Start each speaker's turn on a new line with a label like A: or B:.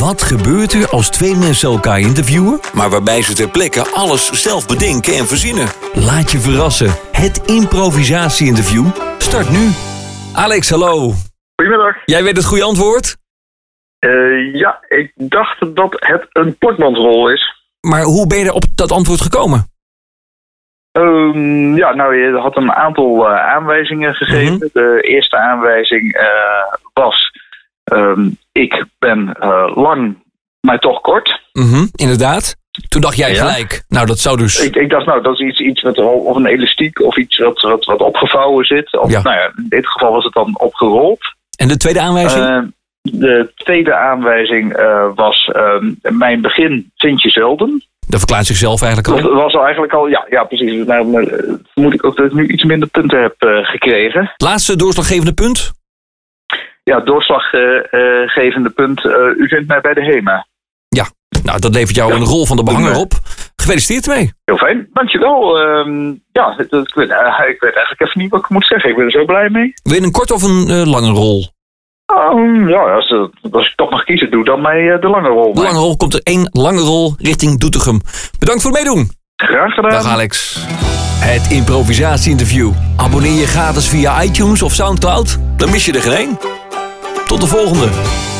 A: Wat gebeurt er als twee mensen elkaar interviewen? Maar waarbij ze ter plekke alles zelf bedenken en verzinnen. Laat je verrassen. Het improvisatie-interview start nu. Alex, hallo.
B: Goedemiddag.
A: Jij weet het goede antwoord?
B: Eh, ja, ik dacht dat het een portmansrol is.
A: Maar hoe ben je er op dat antwoord gekomen?
B: Ehm, ja, nou, je had een aantal eh, aanwijzingen gegeven.
A: Mhm.
B: De eerste aanwijzing eh, was: ehm, Ik ben eh, lang, maar toch kort.
A: Mhm, inderdaad. Toen dacht jij
B: Ja.
A: gelijk. Nou, dat zou dus...
B: Ik, ik dacht, nou, dat is iets, iets met een- of een elastiek of iets wat, wat, wat opgevouwen zit. Of,
A: Ja.
B: Nou ja, in dit geval was het dan opgerold.
A: En de tweede aanwijzing?
B: Eh, de tweede aanwijzing eh, was: ehm, Mijn begin vind je zelden.
A: dat verklaart zichzelf eigenlijk
B: Dat
A: al.
B: was al eigenlijk al, ja, ja precies. Nou, eh, vermoed ik ook dat ik nu iets minder punten heb eh, gekregen.
A: Laatste doorslaggevende punt?
B: Ja, doorslaggevende punt. eh, u vindt mij bij de HEMA.
A: Nou, dat levert jou
B: Ja.
A: een rol van de behanger
B: Ja.
A: op. Gefeliciteerd mee.
B: Heel fijn, dankjewel. Ehm ja, het- het- ik weet, eh, ik weet eigenlijk even niet wat ik moet zeggen. Ik ben er zo blij mee.
A: Wil je een korte of een eh, lange rol?
B: Ah, ja, als, eh, als ik toch mag kiezen, doe dan mij eh, de lange rol.
A: De lange rol komt er één lange rol richting Doetinchem. Bedankt voor het meedoen.
B: Graag gedaan.
A: Dag Alex. Het improvisatie-interview. Abonneer je gratis via iTunes of Soundcloud. Dan mis je er geen één. Tot de volgende.